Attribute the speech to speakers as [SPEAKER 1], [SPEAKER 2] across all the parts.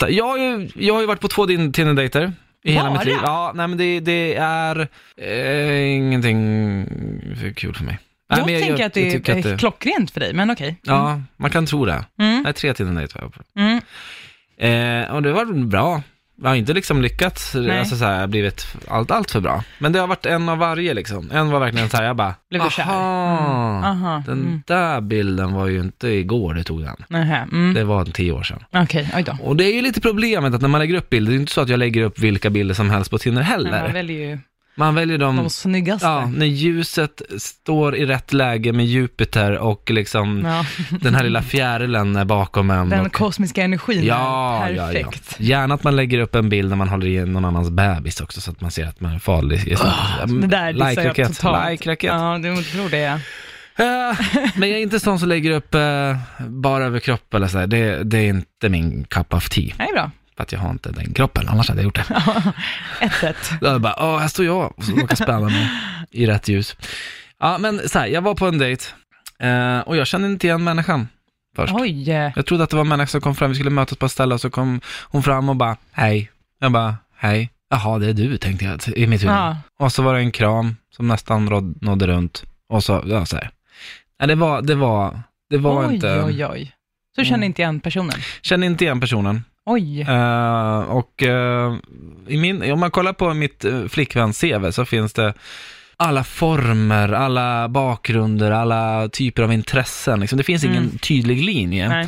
[SPEAKER 1] dejta. Jag har ju, jag har ju varit på två din- Tinder-dejter. I hela
[SPEAKER 2] Bara?
[SPEAKER 1] mitt liv. Ja, nej men det, det är eh, ingenting för kul för mig. Nej,
[SPEAKER 2] jag
[SPEAKER 1] men
[SPEAKER 2] tänker att det
[SPEAKER 1] tycker
[SPEAKER 2] är klockrent för dig, men okej.
[SPEAKER 1] Ja, man kan tro det.
[SPEAKER 2] Mm.
[SPEAKER 1] Nej, tre Tinder-dejter var jag på.
[SPEAKER 2] Mm.
[SPEAKER 1] Eh, och det var bra. Jag har inte liksom lyckats,
[SPEAKER 2] Nej.
[SPEAKER 1] alltså så här, blivit allt, allt för bra. Men det har varit en av varje liksom. En var verkligen så här, jag bara,
[SPEAKER 2] Blev du kär?
[SPEAKER 1] "Aha,
[SPEAKER 2] Aha,
[SPEAKER 1] den
[SPEAKER 2] mm.
[SPEAKER 1] där bilden var ju inte igår du tog den.
[SPEAKER 2] Nähä, mm.
[SPEAKER 1] Det var en tio år sedan.
[SPEAKER 2] Okej, oj då.
[SPEAKER 1] Och det är ju lite problemet att när man lägger upp bilder, det är inte så att jag lägger upp vilka bilder som helst på Tinder
[SPEAKER 2] Men
[SPEAKER 1] heller.
[SPEAKER 2] man väljer ju
[SPEAKER 1] Man väljer de,
[SPEAKER 2] de snyggaste.
[SPEAKER 1] Mm. ja,
[SPEAKER 2] Ja.
[SPEAKER 1] när ljuset står i rätt läge med Jupiter och liksom den här lilla fjärilen är bakom en.
[SPEAKER 2] Mm. Den
[SPEAKER 1] och,
[SPEAKER 2] kosmiska energin
[SPEAKER 1] Ja,
[SPEAKER 2] är
[SPEAKER 1] ja, ja.
[SPEAKER 2] perfekt.
[SPEAKER 1] Gärna att man lägger upp en bild när man håller i någon annans bebis också så att man ser att man är farlig.
[SPEAKER 2] Ah,
[SPEAKER 1] Mm,
[SPEAKER 2] Det där dissar jag
[SPEAKER 1] Like-raket.
[SPEAKER 2] totalt.
[SPEAKER 1] Like-raket.
[SPEAKER 2] Ja, du tror det.
[SPEAKER 1] Eh, Men jag är inte sån som lägger upp eh, bara över kropp eller så här. Det, det är inte min cup of tea.
[SPEAKER 2] Det är bra.
[SPEAKER 1] För att jag har inte den kroppen, annars hade jag gjort det.
[SPEAKER 2] 1-1.
[SPEAKER 1] Då är det bara, åh, här står jag och så råkar spänna mig i rätt ljus. Ja, men så här, jag var på en dejt eh, och jag kände inte igen människan först.
[SPEAKER 2] Oj. eh,
[SPEAKER 1] Jag trodde att det var en människa som kom fram, vi skulle mötas på ett ställe och så kom hon fram och bara hej. Jag bara hej. Jaha, det är du tänkte jag i mitt huvud.
[SPEAKER 2] Ja.
[SPEAKER 1] Och så var det en kram som nästan råd- nådde runt. Och så, ja så här. Nej, det var, det var, det var
[SPEAKER 2] Oj,
[SPEAKER 1] inte, Mm.
[SPEAKER 2] oj, oj. Så du känner inte igen personen?
[SPEAKER 1] kände inte igen personen.
[SPEAKER 2] Oj.
[SPEAKER 1] Eh, och eh, i min, om man kollar på mitt uh, flickväns CV så finns det alla former, alla bakgrunder, alla typer av intressen. Liksom. Det finns ingen
[SPEAKER 2] Mm.
[SPEAKER 1] tydlig linje.
[SPEAKER 2] Nej.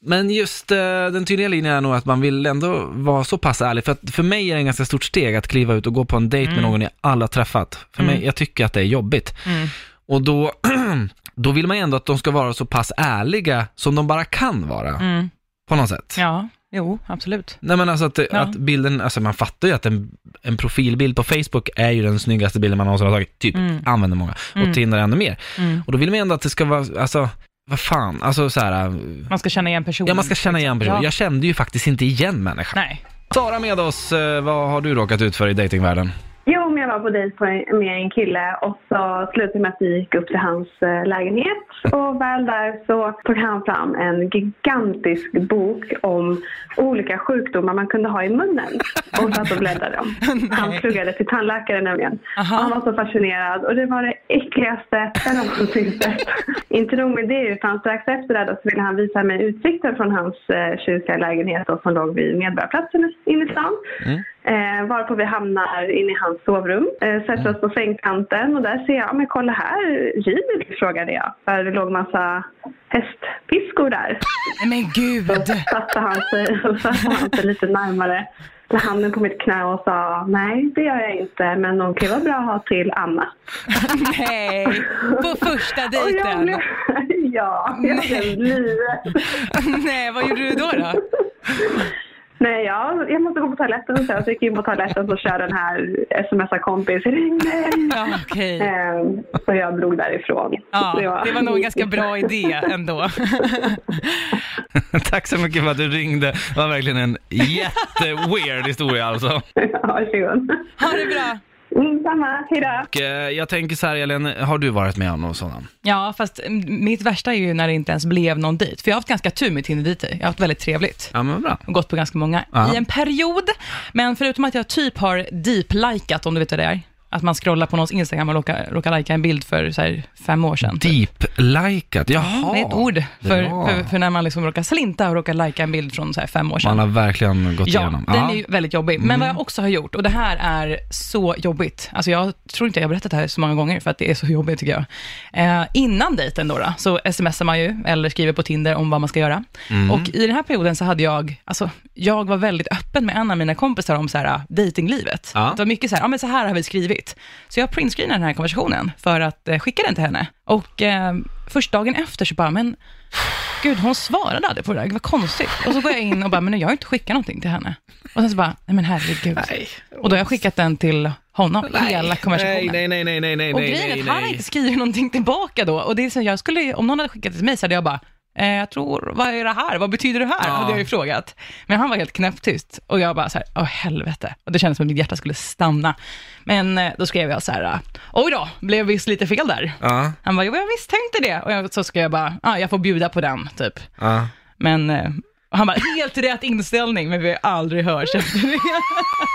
[SPEAKER 1] Men just eh, den tydliga linjen är nog att man vill ändå vara så pass ärlig. För att för mig är det en ganska stort steg att kliva ut och gå på en dejt med
[SPEAKER 2] Mm.
[SPEAKER 1] någon jag aldrig har träffat. För
[SPEAKER 2] Mm.
[SPEAKER 1] mig, jag tycker att det är jobbigt.
[SPEAKER 2] Mm.
[SPEAKER 1] Och då, då vill man ju ändå att de ska vara så pass ärliga som de bara kan vara.
[SPEAKER 2] Mm.
[SPEAKER 1] På något sätt.
[SPEAKER 2] Ja, jo, absolut.
[SPEAKER 1] Nej men alltså att,
[SPEAKER 2] Ja.
[SPEAKER 1] att bilden, alltså man fattar ju att en, en profilbild på Facebook är ju den snyggaste bilden man någonsin har tagit. Typ,
[SPEAKER 2] Mm.
[SPEAKER 1] använder många. Och
[SPEAKER 2] Mm.
[SPEAKER 1] Tinder ännu mer.
[SPEAKER 2] Mm.
[SPEAKER 1] Och då vill man ju ändå att det ska vara, alltså, vad fan, alltså så här.
[SPEAKER 2] Man ska känna igen personen.
[SPEAKER 1] Ja, man ska känna igen personen.
[SPEAKER 2] Ja.
[SPEAKER 1] Jag kände ju faktiskt inte igen människan.
[SPEAKER 2] Nej.
[SPEAKER 1] Sara med oss, eh, vad har du råkat ut för i datingvärlden?
[SPEAKER 3] Jo, men jag var på dejt på en- med en kille och så slutade med att vi gick upp till hans eh, lägenhet och väl där så tog han fram en gigantisk bok om olika sjukdomar man kunde ha i munnen och satt och bläddrade om. Han pluggade till tandläkare nämligen.
[SPEAKER 2] Aha.
[SPEAKER 3] Och Han var så fascinerad och det var det äckligaste jag någonsin sett. Inte nog med det utan strax efter det då så ville han visa mig utsikten från hans eh, tjusiga lägenhet då, som låg vid Medborgarplatsen inne i stan. Eh, varpå vi hamnar inne i hans sovrum, eh, sätter oss på sängkanten och där ser jag, men kolla här, Jidel frågade jag. För det låg massa hästpiskor där.
[SPEAKER 2] Nej, Men gud.
[SPEAKER 3] Så satte han sig, så satte han sig lite närmare, la handen på mitt knä och sa nej det gör jag inte men de kan ju vara bra att ha till annat.
[SPEAKER 2] Nej. På första
[SPEAKER 3] Och jag
[SPEAKER 2] dejten.
[SPEAKER 3] blev, ja, jag blev livet.
[SPEAKER 2] Nej, vad gjorde du då? då?
[SPEAKER 3] Nej, jag, jag måste gå på toaletten så jag gick in på toaletten och kör den här smsa kompis, ring mig.
[SPEAKER 2] Ja, okej.
[SPEAKER 3] Ehm, Så jag drog därifrån. Så
[SPEAKER 2] Ja,
[SPEAKER 3] jag-
[SPEAKER 2] det var nog en ganska bra idé ändå.
[SPEAKER 1] Tack så mycket för att du ringde. Det var verkligen en jätteweird historia alltså.
[SPEAKER 3] Ja, varsågod.
[SPEAKER 2] Ha det bra.
[SPEAKER 3] Mm, Samma, hejdå.
[SPEAKER 1] Och, eh, jag tänker så här Elin, har du varit med om någon sådan?
[SPEAKER 2] Ja, fast mm, mitt värsta är ju när det inte ens blev någon dejt. För jag har haft ganska tur med Tinder-dejter. Jag har haft väldigt trevligt.
[SPEAKER 1] Ja men bra.
[SPEAKER 2] Och gått på ganska många
[SPEAKER 1] Ja.
[SPEAKER 2] i en period. Men förutom att jag typ har deep-likat, om du vet vad det är. Att man scrollar på någons Instagram och råkar, råkar lajka en bild för så här, fem år sedan.
[SPEAKER 1] Deep-likat, jaha.
[SPEAKER 2] Det är ett ord för,
[SPEAKER 1] Bra.
[SPEAKER 2] för, för när man liksom råkar slinta och råkar lajka en bild från så här fem år sedan.
[SPEAKER 1] Man har verkligen gått
[SPEAKER 2] Ja,
[SPEAKER 1] igenom. Mm.
[SPEAKER 2] den är ju väldigt jobbig. Men vad jag också har gjort, och det här är så jobbigt, alltså jag tror inte jag har berättat det här så många gånger för att det är så jobbigt tycker jag. Eh, innan dejten då, då, så smsar man ju eller skriver på Tinder om vad man ska göra.
[SPEAKER 1] Mm.
[SPEAKER 2] Och i den här perioden så hade jag, alltså jag var väldigt öppen med en av mina kompisar om så här eh, dejtinglivet.
[SPEAKER 1] Ja.
[SPEAKER 2] Det var mycket så här, ja men så här har vi skrivit. Så jag printscreenade den här konversationen för att eh, skicka den till henne. Och eh, först dagen efter så bara, men gud hon svarade aldrig på det där, vad konstigt. Och så går jag in och bara, men jag har inte skickat någonting till henne. Och sen så bara, nej men herregud. Och då har jag skickat den till honom, hela konversationen.
[SPEAKER 1] alltså. Nej, nej, nej, nej, nej, nej,
[SPEAKER 2] och
[SPEAKER 1] nej,
[SPEAKER 2] grejen är
[SPEAKER 1] nej,
[SPEAKER 2] att han har
[SPEAKER 1] nej.
[SPEAKER 2] inte skrivit någonting tillbaka då. Och det är så, jag skulle, om någon hade skickat det till mig så hade jag bara, eh, jag tror, vad är det här? Vad betyder det här?
[SPEAKER 1] Ja.
[SPEAKER 2] Hade jag ju frågat. Men han var helt knäpptyst. Och jag bara så här, åh helvete. Och det kändes som att mitt hjärta skulle stanna. Men eh, då skrev jag så här, oj då, blev visst lite fel där.
[SPEAKER 1] Ja,
[SPEAKER 2] Han bara, jo jag misstänkte det. Och jag, så ska jag bara, ah, jag får bjuda på den, typ.
[SPEAKER 1] ja.
[SPEAKER 2] Men eh, Och han bara, helt rätt inställning, men vi har aldrig hört efter det.